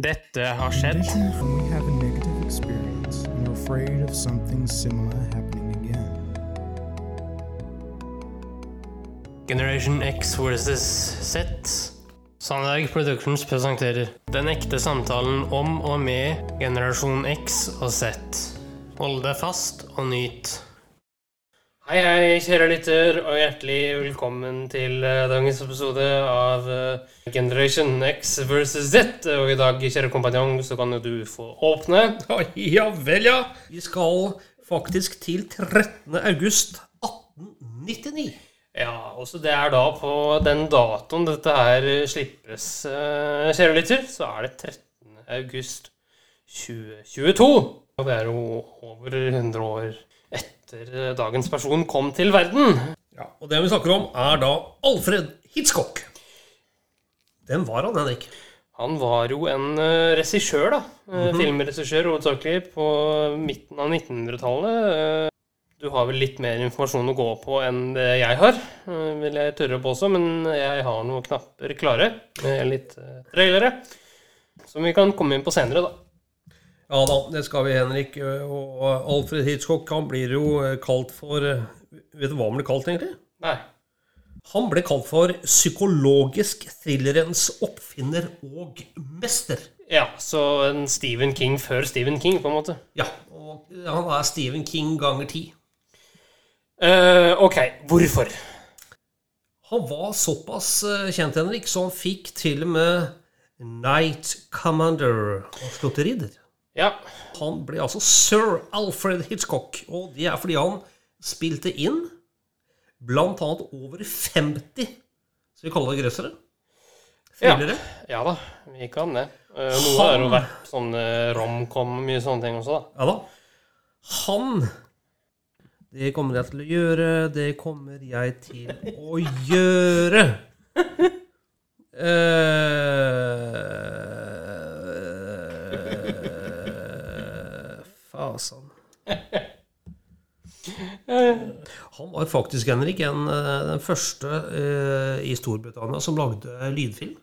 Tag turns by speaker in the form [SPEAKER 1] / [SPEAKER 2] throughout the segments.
[SPEAKER 1] Dette har skjedd.
[SPEAKER 2] If we have a negative experience and are afraid of something similar happening again,
[SPEAKER 1] Generation X versus Z. Sandberg Productions presenterer Den ekte samtalen om og med generasjon X og Z. Hold deg fast og nyt. Hei, hei, kjære lytter, og hjertelig velkommen til eh, dagens episode av eh, Generation X versus Z. Og i dag, kjære kompanjong, så kan jo du få åpne.
[SPEAKER 3] Oi, Ja vel, ja. Vi skal faktisk til 13. august 1899.
[SPEAKER 1] Ja, også det er da på den datoen dette her slippes, eh, kjære lytter, så er det 13. august 2022. Og det er jo over 100 år etter eh, dagens person kom til verden.
[SPEAKER 3] Ja, og det vi snakker om, er da Alfred Hitchcock. Hvem var han, Henrik?
[SPEAKER 1] Han var jo en eh, regissør, da. Eh, Filmregissør hovedsakelig på midten av 1900-tallet. Eh, Du har vel litt mer informasjon å gå på enn det jeg har, eh, vil jeg tørre på også. Men jeg har noen knapper klare. eh, Litt eh, trailere. Som vi kan komme inn på senere, da.
[SPEAKER 3] Ja da, det skal vi, Henrik. Og Alfred Hitchcock han blir jo eh, kalt for Vet du hva han ble kalt, egentlig?
[SPEAKER 1] Nei.
[SPEAKER 3] Han ble kalt for psykologisk thrillerens oppfinner og mester.
[SPEAKER 1] Ja, så en Stephen King før Stephen King, på en måte.
[SPEAKER 3] Ja, og eh, han er Stephen King ganger ti.
[SPEAKER 1] Eh, ok, hvorfor?
[SPEAKER 3] Han var såpass eh, kjent, Henrik, så han fikk til og med Night Commander og slo til ridder.
[SPEAKER 1] Ja,
[SPEAKER 3] Han ble altså sir Alfred Hitchcock, og det er fordi han spilte inn blant annet over 50 Skal vi kalle det grøssere?
[SPEAKER 1] Ja.
[SPEAKER 3] Thrillere?
[SPEAKER 1] ja da, vi kan det. Eh, noe har jo vært sånn eh, romcom og mye sånne ting også, da.
[SPEAKER 3] Ja da. Han Det kommer jeg til å gjøre, det kommer jeg til å gjøre. Eh, Fasan. Han var faktisk, Henrik, en, eh, den første eh, i Storbritannia som lagde lydfilm.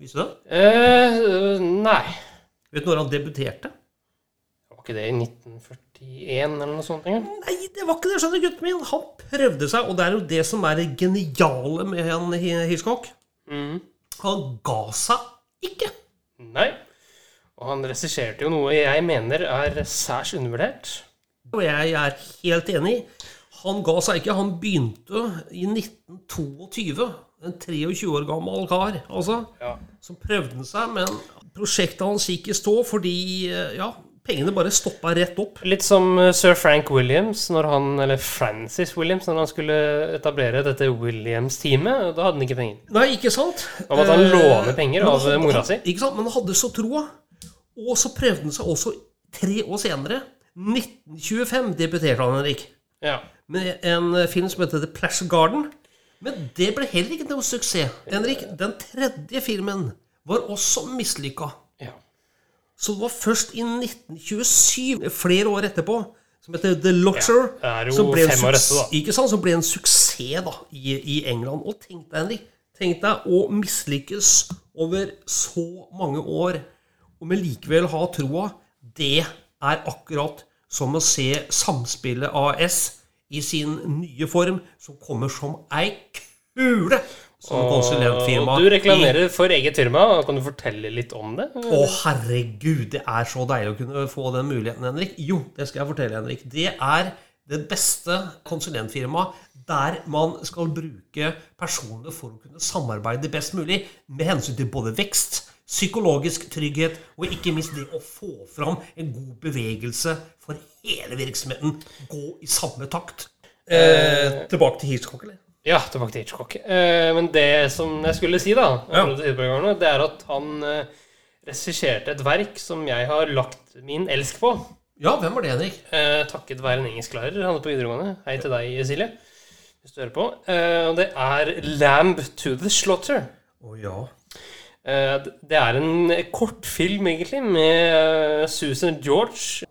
[SPEAKER 3] Visste du det?
[SPEAKER 1] Eh, nei.
[SPEAKER 3] Vet du når han debuterte?
[SPEAKER 1] Var ikke det i 1941 eller noe sånt? Egentlig?
[SPEAKER 3] Nei, det var ikke det, skjønner du, gutten min. Han prøvde seg, og det er jo det som er det geniale med han Hi- Hitchcock.
[SPEAKER 1] Mhm.
[SPEAKER 3] Han ga seg ikke.
[SPEAKER 1] Nei. Og han regisserte jo noe jeg mener er særs undervurdert.
[SPEAKER 3] Og jeg er helt enig. Han ga seg ikke. Han begynte i 1922. En 23 år gammel kar, altså.
[SPEAKER 1] Ja.
[SPEAKER 3] Som prøvde han seg, men prosjektet hans gikk i stå fordi, eh, ja, pengene bare stoppa rett opp.
[SPEAKER 1] Litt som eh, sir Frank Williams, når han, eller Francis Williams, når han skulle etablere dette Williams-teamet. Da hadde han ikke penger.
[SPEAKER 3] Nei, ikke sant?
[SPEAKER 1] Da måtte han
[SPEAKER 3] Eh,
[SPEAKER 1] låne penger
[SPEAKER 3] men
[SPEAKER 1] av
[SPEAKER 3] han-
[SPEAKER 1] mora si.
[SPEAKER 3] Ikke sant? Men han hadde så troa. Og så prøvde han seg også tre år senere. 1925 debuterte han, Henrik,
[SPEAKER 1] Ja.
[SPEAKER 3] med en film som heter The Plash Garden. Men det ble heller ikke noe suksess. Henrik, Den tredje filmen var også mislykka.
[SPEAKER 1] ja.
[SPEAKER 3] Så det var først i 1927, flere år etterpå, som heter The Lodger,
[SPEAKER 1] Ja, det er jo
[SPEAKER 3] som, ble en
[SPEAKER 1] fem år
[SPEAKER 3] suks-
[SPEAKER 1] etter, da.
[SPEAKER 3] ikke sant, som ble en suksess da, i, i England. Og tenk deg, Henrik, tenk deg å mislykkes over så mange år, og men likevel ha troa. Det er akkurat som å se Samspillet AS i sin nye form, som kommer som ei kule som konsulentfirma.
[SPEAKER 1] Og du
[SPEAKER 3] i
[SPEAKER 1] reklamerer for eget firma. og Kan du fortelle litt om det?
[SPEAKER 3] å, herregud, det er så deilig å kunne få den muligheten, Henrik. Jo, det skal jeg fortelle, Henrik. Det er det beste konsulentfirmaet der man skal bruke personer for å kunne samarbeide best mulig med hensyn til både vekst, psykologisk trygghet og ikke minst det å få fram en god bevegelse for hele virksomheten. Gå i samme takt. Eh, tilbake til Hitchcock, eller?
[SPEAKER 1] Ja, tilbake til Hitchcock. Eh, men det som jeg skulle si, da,
[SPEAKER 3] Ja.
[SPEAKER 1] om dette utprogrammet, det er at han eh, regisserte et verk som jeg har lagt min elsk på.
[SPEAKER 3] Ja, hvem var det, Henrik?
[SPEAKER 1] Eh, takket være en engelsklærer han hadde på videregående. Hei til deg, Silje, hvis du hører på. Eh, og det er 'Lamb to the Slaughter'.
[SPEAKER 3] Å ja.
[SPEAKER 1] Eh, d- Det er en kortfilm, egentlig, med eh, Susan George.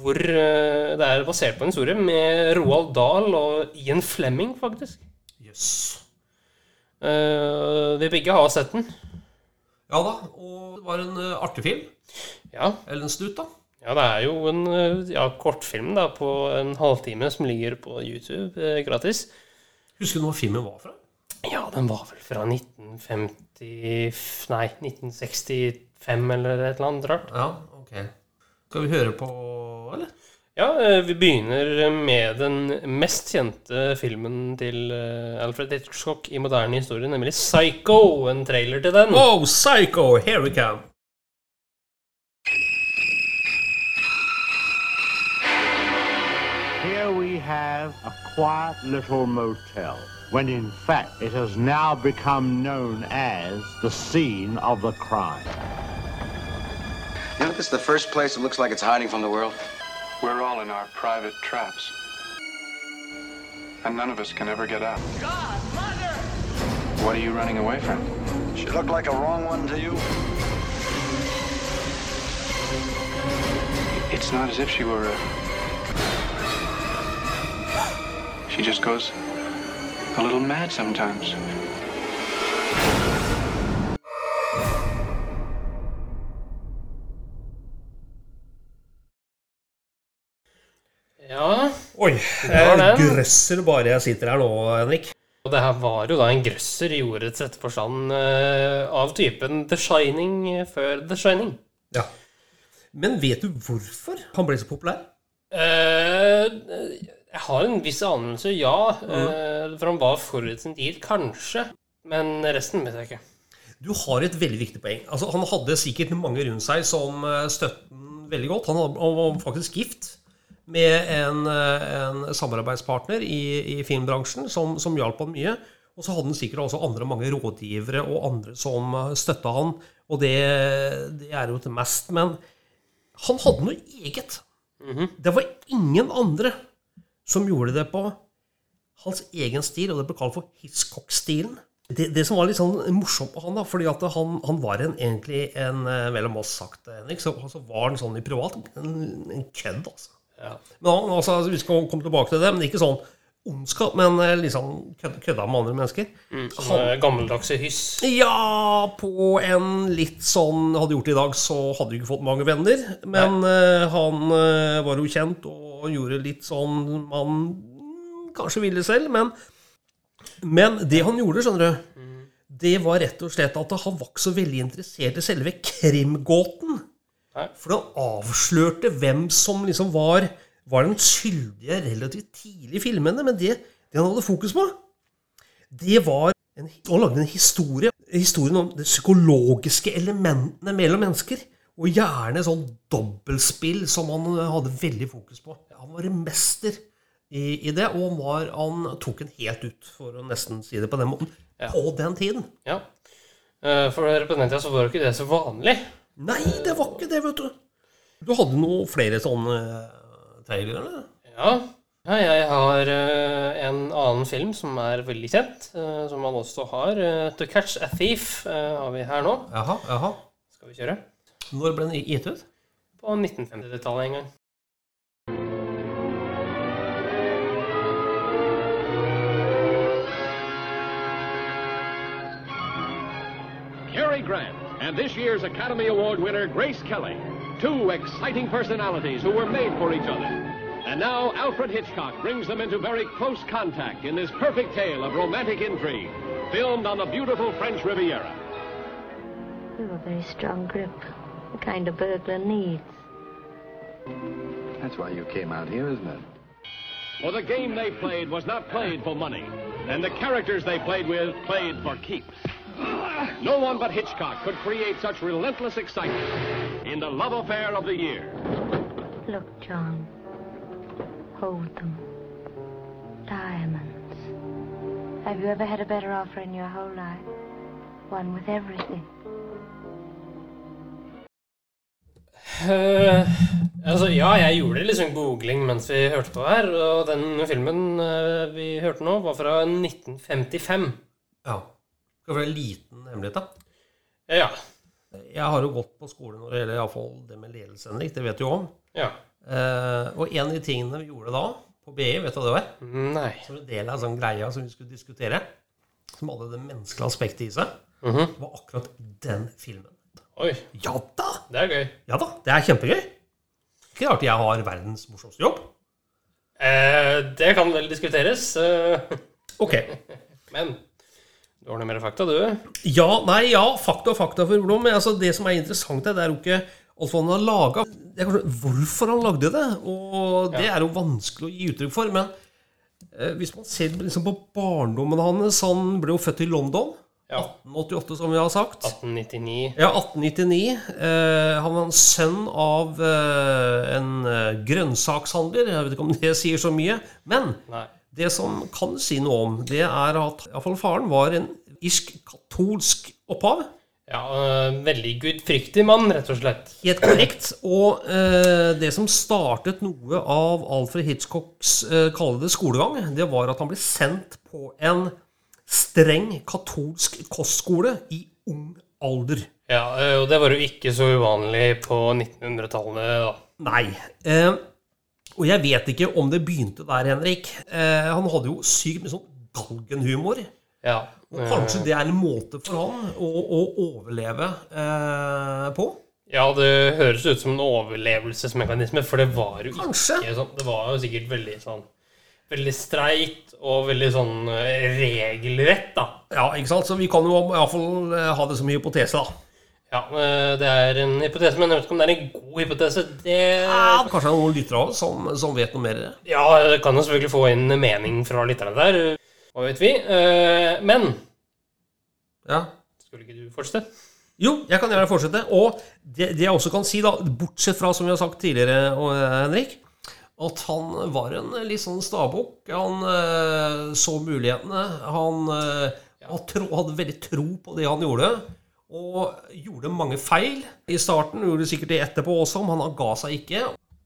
[SPEAKER 1] Hvor eh, det er basert på en historie med Roald Dahl og Ian Flemming, faktisk.
[SPEAKER 3] Jøss. Yes.
[SPEAKER 1] Eh, Vi begge har sett den.
[SPEAKER 3] Ja, Ja da, og det var en eh, artig film.
[SPEAKER 1] Ja.
[SPEAKER 3] Eller en snutt, da.
[SPEAKER 1] ja, det er jo en eh, ja, kortfilm da, på en halvtime som ligger på YouTube eh, gratis.
[SPEAKER 3] Husker du hvor filmen var fra?
[SPEAKER 1] Ja, den var vel fra 1950 Nei, 1965 eller et eller annet rart.
[SPEAKER 3] Ja, ok. Skal vi høre på, eller?
[SPEAKER 1] Ja, eh, vi begynner med den mest kjente filmen til eh, Alfred Hitchcock i moderne historie, nemlig Psycho. En trailer til den.
[SPEAKER 3] Oh, psycho, here we come.
[SPEAKER 4] Here we have a quiet little motel, when in fact it has now become known as the scene of the crime.
[SPEAKER 5] You know, this is the first place that looks like it's hiding from the world.
[SPEAKER 6] We're all in our private traps. And none of us can ever get out. God, mother! What are you running away from?
[SPEAKER 5] She looked like a wrong one to you.
[SPEAKER 6] It's not as if she were uh, a. She just goes a little mad sometimes.
[SPEAKER 1] Ja,
[SPEAKER 3] Oi,
[SPEAKER 1] var
[SPEAKER 3] jeg
[SPEAKER 1] den.
[SPEAKER 3] grøsser bare jeg sitter her nå, Henrik.
[SPEAKER 1] og det her var jo da en grøsser i ordets rette forstand eh, av typen The Shining før The Shining.
[SPEAKER 3] Ja. Men vet du hvorfor han ble så populær?
[SPEAKER 1] Eh, jeg har en viss anelse, ja. eh, for han var forut sin tid, kanskje. Men resten vet jeg ikke.
[SPEAKER 3] Du har et veldig viktig poeng. Altså, han hadde sikkert mange rundt seg som eh, støttet han veldig godt. Han hadde- han var faktisk gift med en, eh, en samarbeidspartner i, i filmbransjen som, som hjalp han mye. Og så hadde han sikkert også andre mange rådgivere og andre som eh, støtta han. Og det, det er jo til mest. Men han hadde noe eget. Det var ingen andre som gjorde det på hans egen stil, og det ble kalt for Hitchcock-stilen. Det, det som var litt sånn morsomt på han, da, fordi at han, han var en, egentlig en eh, mellom oss sagt, Henrik, så, så var han sånn i privat en, en kødd, altså.
[SPEAKER 1] Ja.
[SPEAKER 3] Men han, altså, vi skal komme tilbake til det, men ikke sånn ondskap, men eh, liksom kødd- kødda med andre mennesker.
[SPEAKER 1] Sånne eh, gammeldagse hyss.
[SPEAKER 3] Ja, på en litt sånn Hadde gjort det i dag, så hadde du ikke fått mange venner. Men eh, han eh, var jo kjent og gjorde litt sånn man mm, kanskje ville selv. Men, men det han gjorde, skjønner du, det var rett og slett at han var ikke så veldig interessert i selve krimgåten.
[SPEAKER 1] Nei.
[SPEAKER 3] For han avslørte hvem som liksom var, var den skyldige relativt tidlig i filmene. Men det, det han hadde fokus på, det var en, Han lagde en historie historien om de psykologiske elementene mellom mennesker. Og gjerne sånn dobbeltspill som han eh, hadde veldig fokus på. Han var en mester i, i det, og han, var, han tok en helt ut, for å nesten si det på den måten, på den tiden.
[SPEAKER 1] Ja. Eh, For på den tida så var jo ikke det så vanlig.
[SPEAKER 3] Nei, det var ikke det, vet du. Du hadde noe flere sånne eh, trailere, eller?
[SPEAKER 1] Ja. ja jeg har eh, en annen film som er veldig kjent, eh, som man også har. eh, To Catch a Thief eh, har vi her nå.
[SPEAKER 3] Jaha, jaha.
[SPEAKER 1] Skal vi kjøre?
[SPEAKER 3] Når ble den gitt ut?
[SPEAKER 1] På 1950-tallet en gang.
[SPEAKER 7] Cary Grant and this year's Academy Award winner Grace Kelly. Two exciting personalities who were made for each other. And now Alfred Hitchcock brings them into very close contact in this perfect tale of romantic intrigue, filmed on the beautiful French Riviera.
[SPEAKER 8] You have a very strong grip, the kind a burglar needs.
[SPEAKER 6] That's why you came out here, isn't it?
[SPEAKER 7] For the game they played was not played for money, and the characters they played with played for keeps. No one but Hitchcock could create such relentless excitement in the love affair of the year.
[SPEAKER 8] Look, John. Hold them. Diamonds. Have you ever had a better offer in your whole life? One with everything.
[SPEAKER 1] Eh, altså, ja, jeg gjorde liksom googling mens vi hørte på her, og den filmen eh, vi hørte nå, var fra 1955.
[SPEAKER 3] Ja. Skal være en liten hemmelighet, da.
[SPEAKER 1] Eh, Ja.
[SPEAKER 3] Jeg har jo gått på skole når det gjelder i hvert fall det med ledelse, Henrik. Det vet du jo om.
[SPEAKER 1] Ja.
[SPEAKER 3] Eh, og en av de tingene vi gjorde da, på BI, vet du hva det var?
[SPEAKER 1] Nei.
[SPEAKER 3] Som en del av en sånn greia som vi skulle diskutere, som hadde det menneskelige aspektet i seg, Det var akkurat den filmen.
[SPEAKER 1] Oi,
[SPEAKER 3] Ja da!
[SPEAKER 1] det er gøy.
[SPEAKER 3] Ja da, Det er kjempegøy. Ikke rart jeg har verdens morsomste jobb.
[SPEAKER 1] Eh, det kan vel diskuteres, eh,
[SPEAKER 3] Ok.
[SPEAKER 1] men du har noe mer fakta, du?
[SPEAKER 3] Ja, nei, ja. Fakta og fakta for Blom. Men altså, det som er interessant, her, det er jo ikke alt hva han har laga. Det er kanskje hvorfor han lagde det. Og det er jo vanskelig å gi uttrykk for. Men eh, hvis man ser liksom, på barndommen hans Han ble jo født i London.
[SPEAKER 1] Ja.
[SPEAKER 3] 1888, som vi har sagt.
[SPEAKER 1] 1899.
[SPEAKER 3] Ja, 1899. Eh, han var en sønn av eh, en eh, grønnsakshandler. Jeg vet ikke om det sier så mye. Men
[SPEAKER 1] Nei.
[SPEAKER 3] det som kan si noe om, det er at iallfall faren var en irsk-katolsk opphav.
[SPEAKER 1] Ja, eh, veldig gudfryktig mann, rett og slett.
[SPEAKER 3] Helt korrekt. Og eh, det som startet noe av Alfred Hitchcocks eh, kalle det skolegang, det var at han ble sendt på en streng katolsk kostskole i ung alder.
[SPEAKER 1] Ja, eh, og det var jo ikke så uvanlig på 1900-tallet, da.
[SPEAKER 3] Nei. Eh, og jeg vet ikke om det begynte der, Henrik. Eh, han hadde jo sykt mye sånn galgenhumor.
[SPEAKER 1] Ja.
[SPEAKER 3] Og
[SPEAKER 1] eh,
[SPEAKER 3] kanskje det er en måte for han å, å overleve eh, på?
[SPEAKER 1] Ja, det høres ut som en overlevelsesmekanisme, for det var jo
[SPEAKER 3] Kanskje.
[SPEAKER 1] ikke sånn. Det var jo sikkert veldig sånn Veldig streit og veldig sånn eh, regelrett, da.
[SPEAKER 3] Ja, ikke sant? Så vi kan jo iallfall eh, ha det som hypotese, da.
[SPEAKER 1] Ja, eh, det er en hypotese, men jeg vet ikke om det er en god hypotese. Det
[SPEAKER 3] Ja, kanskje det er noen lyttere av oss som, som vet noe mer?
[SPEAKER 1] Ja, jeg kan jo selvfølgelig få inn mening fra lytterne der, hva vet vi. Eh, Men
[SPEAKER 3] Ja.
[SPEAKER 1] Skulle ikke du fortsette?
[SPEAKER 3] Jo, jeg kan gjerne fortsette. Og det, det jeg også kan si, da, bortsett fra som vi har sagt tidligere, og, eh, Henrik, at han var en litt sånn stabukk. Han eh, så mulighetene. Han eh, han tro, hadde veldig tro på det han gjorde. Og gjorde mange feil i starten. Gjorde sikkert det etterpå også, men han ga seg ikke.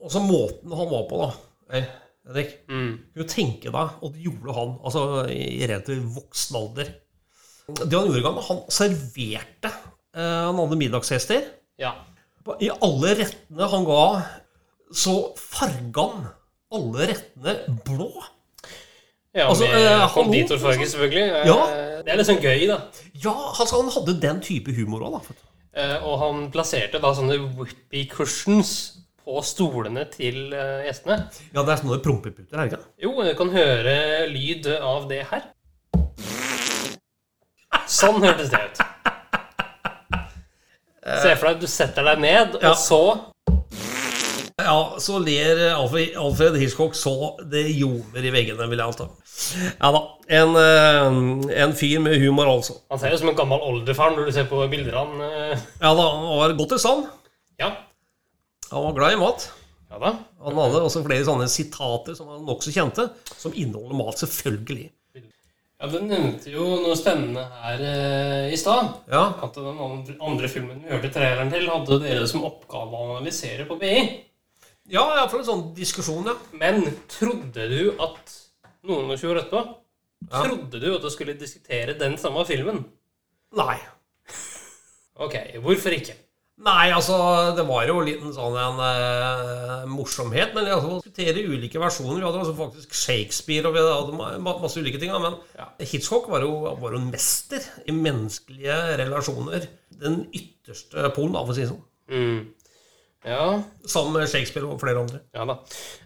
[SPEAKER 3] Og så måten han var på, da. Hey, Henrik, kan du tenke deg at det gjorde han altså, i i rent voksen alder? Det han gjorde, han, han serverte. eh, han hadde middagsgjester.
[SPEAKER 1] Ja.
[SPEAKER 3] I alle rettene han ga, så farga han alle rettene blå.
[SPEAKER 1] ja
[SPEAKER 3] Altså,
[SPEAKER 1] med
[SPEAKER 3] eh, hallo,
[SPEAKER 1] konditorfarge, selvfølgelig. Eh,
[SPEAKER 3] Ja.
[SPEAKER 1] Det er litt sånn gøy, da.
[SPEAKER 3] Ja, altså, han hadde den type humor òg, da.
[SPEAKER 1] Eh, Og han plasserte da sånne whippy cushions på stolene til eh, gjestene.
[SPEAKER 3] Ja, det er sånne prompeputer, er det ikke? det?
[SPEAKER 1] Jo, du kan høre lyd av det her. Sånn hørtes det ut. Se for deg at du setter deg ned,
[SPEAKER 3] Ja.
[SPEAKER 1] og så
[SPEAKER 3] Ja, så ler Alfred, Alfred Hitchcock så det ljomer i veggene, vil jeg anta. Ja da. En, eh, en fyr med humor, altså.
[SPEAKER 1] Han ser jo som en gammel oldefar når du ser på bilder av han. eh.
[SPEAKER 3] Ja da, Han var godt i stand.
[SPEAKER 1] Ja,
[SPEAKER 3] Han var glad i mat.
[SPEAKER 1] ja da.
[SPEAKER 3] Han hadde også flere sånne sitater som han nokså kjente, som inneholder mat, selvfølgelig.
[SPEAKER 1] Ja, Du nevnte jo noe spennende her eh, i stad.
[SPEAKER 3] Ja,
[SPEAKER 1] At den andre, andre filmen vi hørte traileren til, hadde dere som oppgave å analysere på BI.
[SPEAKER 3] ja iallfall en sånn diskusjon, ja.
[SPEAKER 1] Men trodde du at noen og 20 år etterpå Trodde du at du skulle diskutere den samme filmen?
[SPEAKER 3] Nei.
[SPEAKER 1] Ok, hvorfor ikke?
[SPEAKER 3] Nei, altså, det var jo litt en sånn en eh, morsomhet, men altså, vi diskuterer ulike versjoner. Vi hadde altså faktisk Shakespeare og vi hadde ma- ma- masse ulike ting, da, men Hitchcock var jo, var jo en mester i menneskelige relasjoner. Den ytterste polen, da, for å si det sånn.
[SPEAKER 1] Ja,
[SPEAKER 3] Sammen med Shakespeare og flere andre.
[SPEAKER 1] Mm. ja da.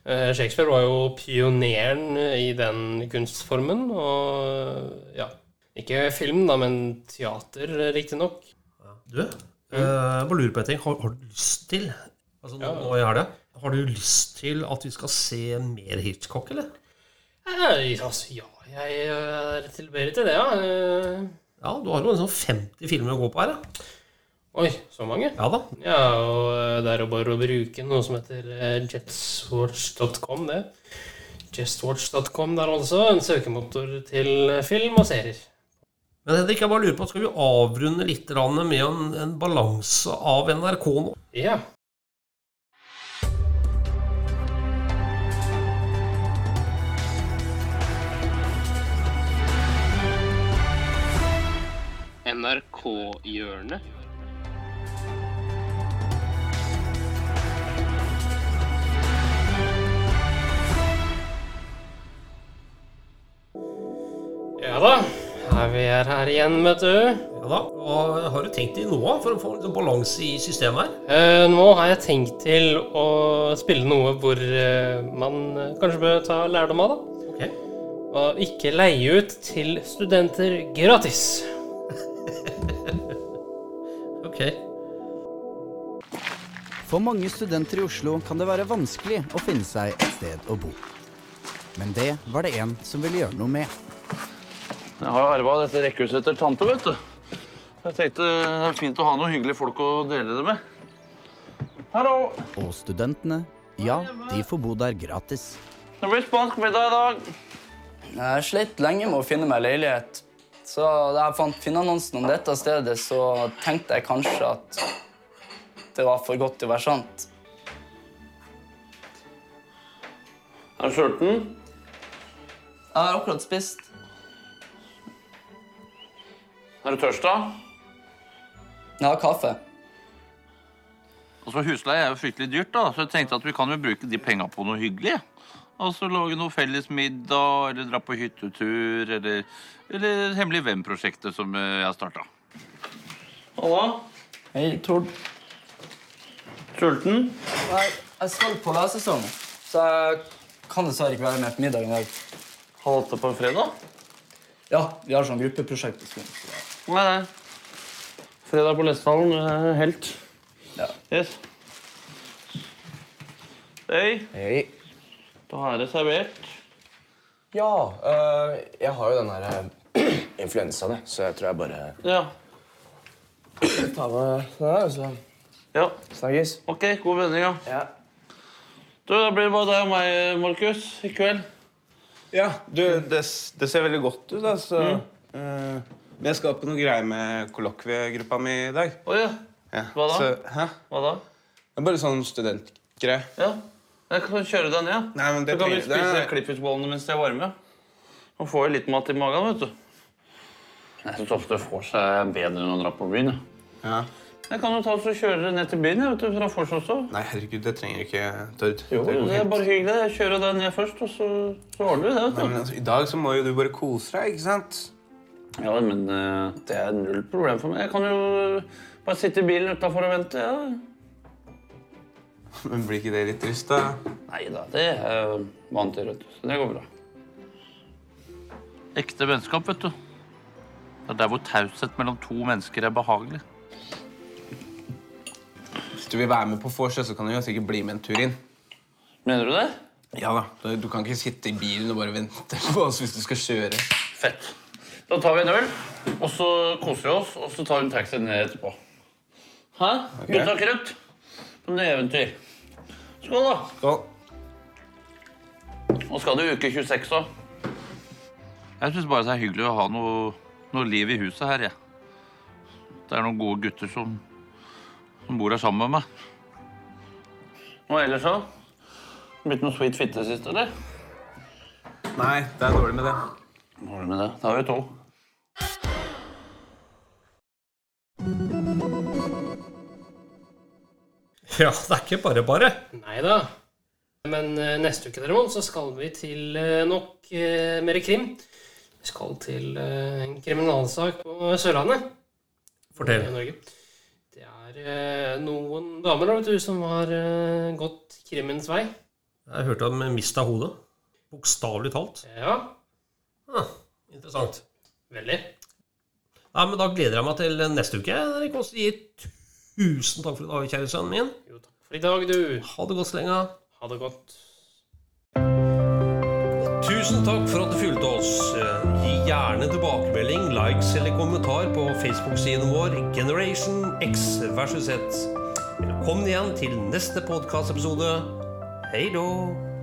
[SPEAKER 1] Eh, Shakespeare var jo pioneren i den kunstformen, og ja. Ikke film, da, men teater, riktignok.
[SPEAKER 3] Du, eh, jeg bare lurer på en ting. Har, har du lyst til Altså, nå, nå gjør jeg det. Har du lyst til at vi skal se mer Hitchcock, eller?
[SPEAKER 1] Eh, altså, ja, jeg er tilbøyelig til det, ja. Eh,
[SPEAKER 3] Ja, du har jo en sånn 50 filmer å gå på her, da.
[SPEAKER 1] oi, så mange?
[SPEAKER 3] Ja da.
[SPEAKER 1] Ja, og eh, det er jo bare å bruke noe som heter eh, jetswatch.com, det. Jetswatch.com der altså, en søkemotor til eh, film og serier.
[SPEAKER 3] Men Henrik, jeg bare lurer på, skal vi avrunde litt grann med en, en balanse av NRK nå?
[SPEAKER 1] Ja. NRK-hjørnet. Ja da, her vi er her igjen, vet du.
[SPEAKER 3] Ja da. Og har du tenkt i noe for å få litt balanse i systemet her?
[SPEAKER 1] Eh, nå har jeg tenkt til å spille noe hvor eh, man eh, kanskje bør ta lærdom av, da.
[SPEAKER 3] Ok.
[SPEAKER 1] Og ikke leie ut til studenter gratis.
[SPEAKER 3] Ok.
[SPEAKER 9] For mange studenter i Oslo kan det være vanskelig å finne seg et sted å bo. Men det var det en som ville gjøre noe med.
[SPEAKER 10] Jeg har jo arva dette rekkehuset etter tante, vet du. Jeg tenkte det er fint å ha noen hyggelige folk å dele det med. Hallo!
[SPEAKER 9] Og studentene, ja, de får bo der gratis.
[SPEAKER 10] Det blir spansk middag i dag. Jeg har slitt lenge med å finne meg leilighet. Så da jeg fant finneannonsen om dette stedet, så tenkte jeg kanskje at det var for godt til å være sant. Er du sulten? Jeg har akkurat spist. Er du tørst, da? Jeg har kaffe. Altså, Husleie er jo fryktelig dyrt, da, så jeg tenkte at vi kan jo bruke de penga på noe hyggelig. Altså lage noe felles middag, eller dra på hyttetur, eller, eller Hemmelig venn-prosjektet som eh, jeg har starta. Halla. Hei, Tord. Sulten?
[SPEAKER 11] Jeg, jeg skal på lesesesong, så jeg kan dessverre ikke være med på middag i dag.
[SPEAKER 10] Halv åtte på en fredag?
[SPEAKER 11] Ja, vi har sånn gruppeprosjekt på skolen.
[SPEAKER 10] Nei, nei. Fredag på Lesthallen. eh, Helt. Ja. Yes. Hei. Hei. Da er det servert.
[SPEAKER 12] Ja, eh, jeg har jo den her influensaen, jeg, så jeg tror jeg bare
[SPEAKER 10] Ja.
[SPEAKER 12] tar med den her, så
[SPEAKER 10] Ja. altså. Snakkes. Ok, god vending, ja. Du, da blir det bare deg og meg, Markus, i kveld.
[SPEAKER 13] Ja, du, det, s- det ser veldig godt ut, da, så eh, Men jeg skal på noe greier med kollokviegruppa mi i dag.
[SPEAKER 10] Å ja. Hva da?
[SPEAKER 13] Så, hæ?
[SPEAKER 10] Hva da?
[SPEAKER 13] Det er bare sånn studentgreie.
[SPEAKER 10] Ja. Jeg kan kjøre deg ned.
[SPEAKER 13] Nei, men det
[SPEAKER 10] så kan vi
[SPEAKER 13] trenger-
[SPEAKER 10] spise
[SPEAKER 13] det er-
[SPEAKER 10] klippfiskbollene mens de er varme. Man får jo litt mat i magen, vet du. Jeg syns ofte det får seg bedre enn å dra på byen.
[SPEAKER 13] Ja.
[SPEAKER 10] Jeg kan jo ta oss og kjøre deg ned til byen jeg, vet du, fra Fors også.
[SPEAKER 13] Nei, herregud, det trenger ikke Tord.
[SPEAKER 10] Jo,
[SPEAKER 13] går
[SPEAKER 10] det er
[SPEAKER 13] fint.
[SPEAKER 10] bare hyggelig. Jeg kjører deg ned først, og så, så ordner vi det. vet du.
[SPEAKER 13] Nei, men altså, I dag så må jo du bare kose deg, ikke sant?
[SPEAKER 10] Ja, men eh, det er null problem for meg. Jeg kan jo bare sitte i bilen utafor og vente. Ja.
[SPEAKER 13] Men blir ikke det litt trist, da?
[SPEAKER 10] Nei da, det er eh, jeg vant til, vet du. Så det går bra. Ekte vennskap, vet du. Det er der hvor taushet mellom to mennesker er behagelig.
[SPEAKER 13] Hvis du vil være med på vors, så kan du jo sikkert bli med en tur inn.
[SPEAKER 10] Mener du det?
[SPEAKER 13] Ja da. Du- Du kan ikke sitte i bilen og bare vente på oss hvis du skal kjøre.
[SPEAKER 10] Fett. Da tar vi en øl, og så koser vi oss, og så tar vi en taxi ned etterpå. Hæ?
[SPEAKER 13] Ok.
[SPEAKER 10] Gutta krutt? Som det er eventyr. Skål, da.
[SPEAKER 13] Skål.
[SPEAKER 10] Nå skal du uke 26 òg. Jeg syns bare det er hyggelig å ha noe, noe liv i huset her, jeg. Det er noen gode gutter som, som bor her sammen med meg. Og ellers så? Blitt noe sweet fitte sist, eller?
[SPEAKER 13] Nei, det er dårlig med det.
[SPEAKER 10] Dårlig med det. Da er vi to.
[SPEAKER 3] Ja, det er ikke bare bare.
[SPEAKER 1] Nei da. Men eh, neste uke derimot så skal vi til eh, nok eh, mer krim. Vi skal til eh, en kriminalsak på Sørlandet.
[SPEAKER 3] Fortell.
[SPEAKER 1] I Norge. Det er eh, noen damer da, vet du, som har eh, gått krimmens vei.
[SPEAKER 3] Jeg hørte at de mista hodet. Bokstavelig talt. Ah,
[SPEAKER 1] Ja,
[SPEAKER 3] Interessant.
[SPEAKER 1] veldig.
[SPEAKER 3] Nei, men Da gleder jeg meg til neste uke. Erik Aas. Tusen takk for i dag, kjære sønnen min.
[SPEAKER 1] For i dag, du.
[SPEAKER 3] Ha det godt så lenge.
[SPEAKER 1] Ha det godt.
[SPEAKER 3] Tusen takk for at du fulgte oss. Eh, Gi gjerne tilbakemelding, likes eller kommentar på Facebook-siden vår Generation X versus Z. Velkommen igjen til neste podkastepisode. Hei då!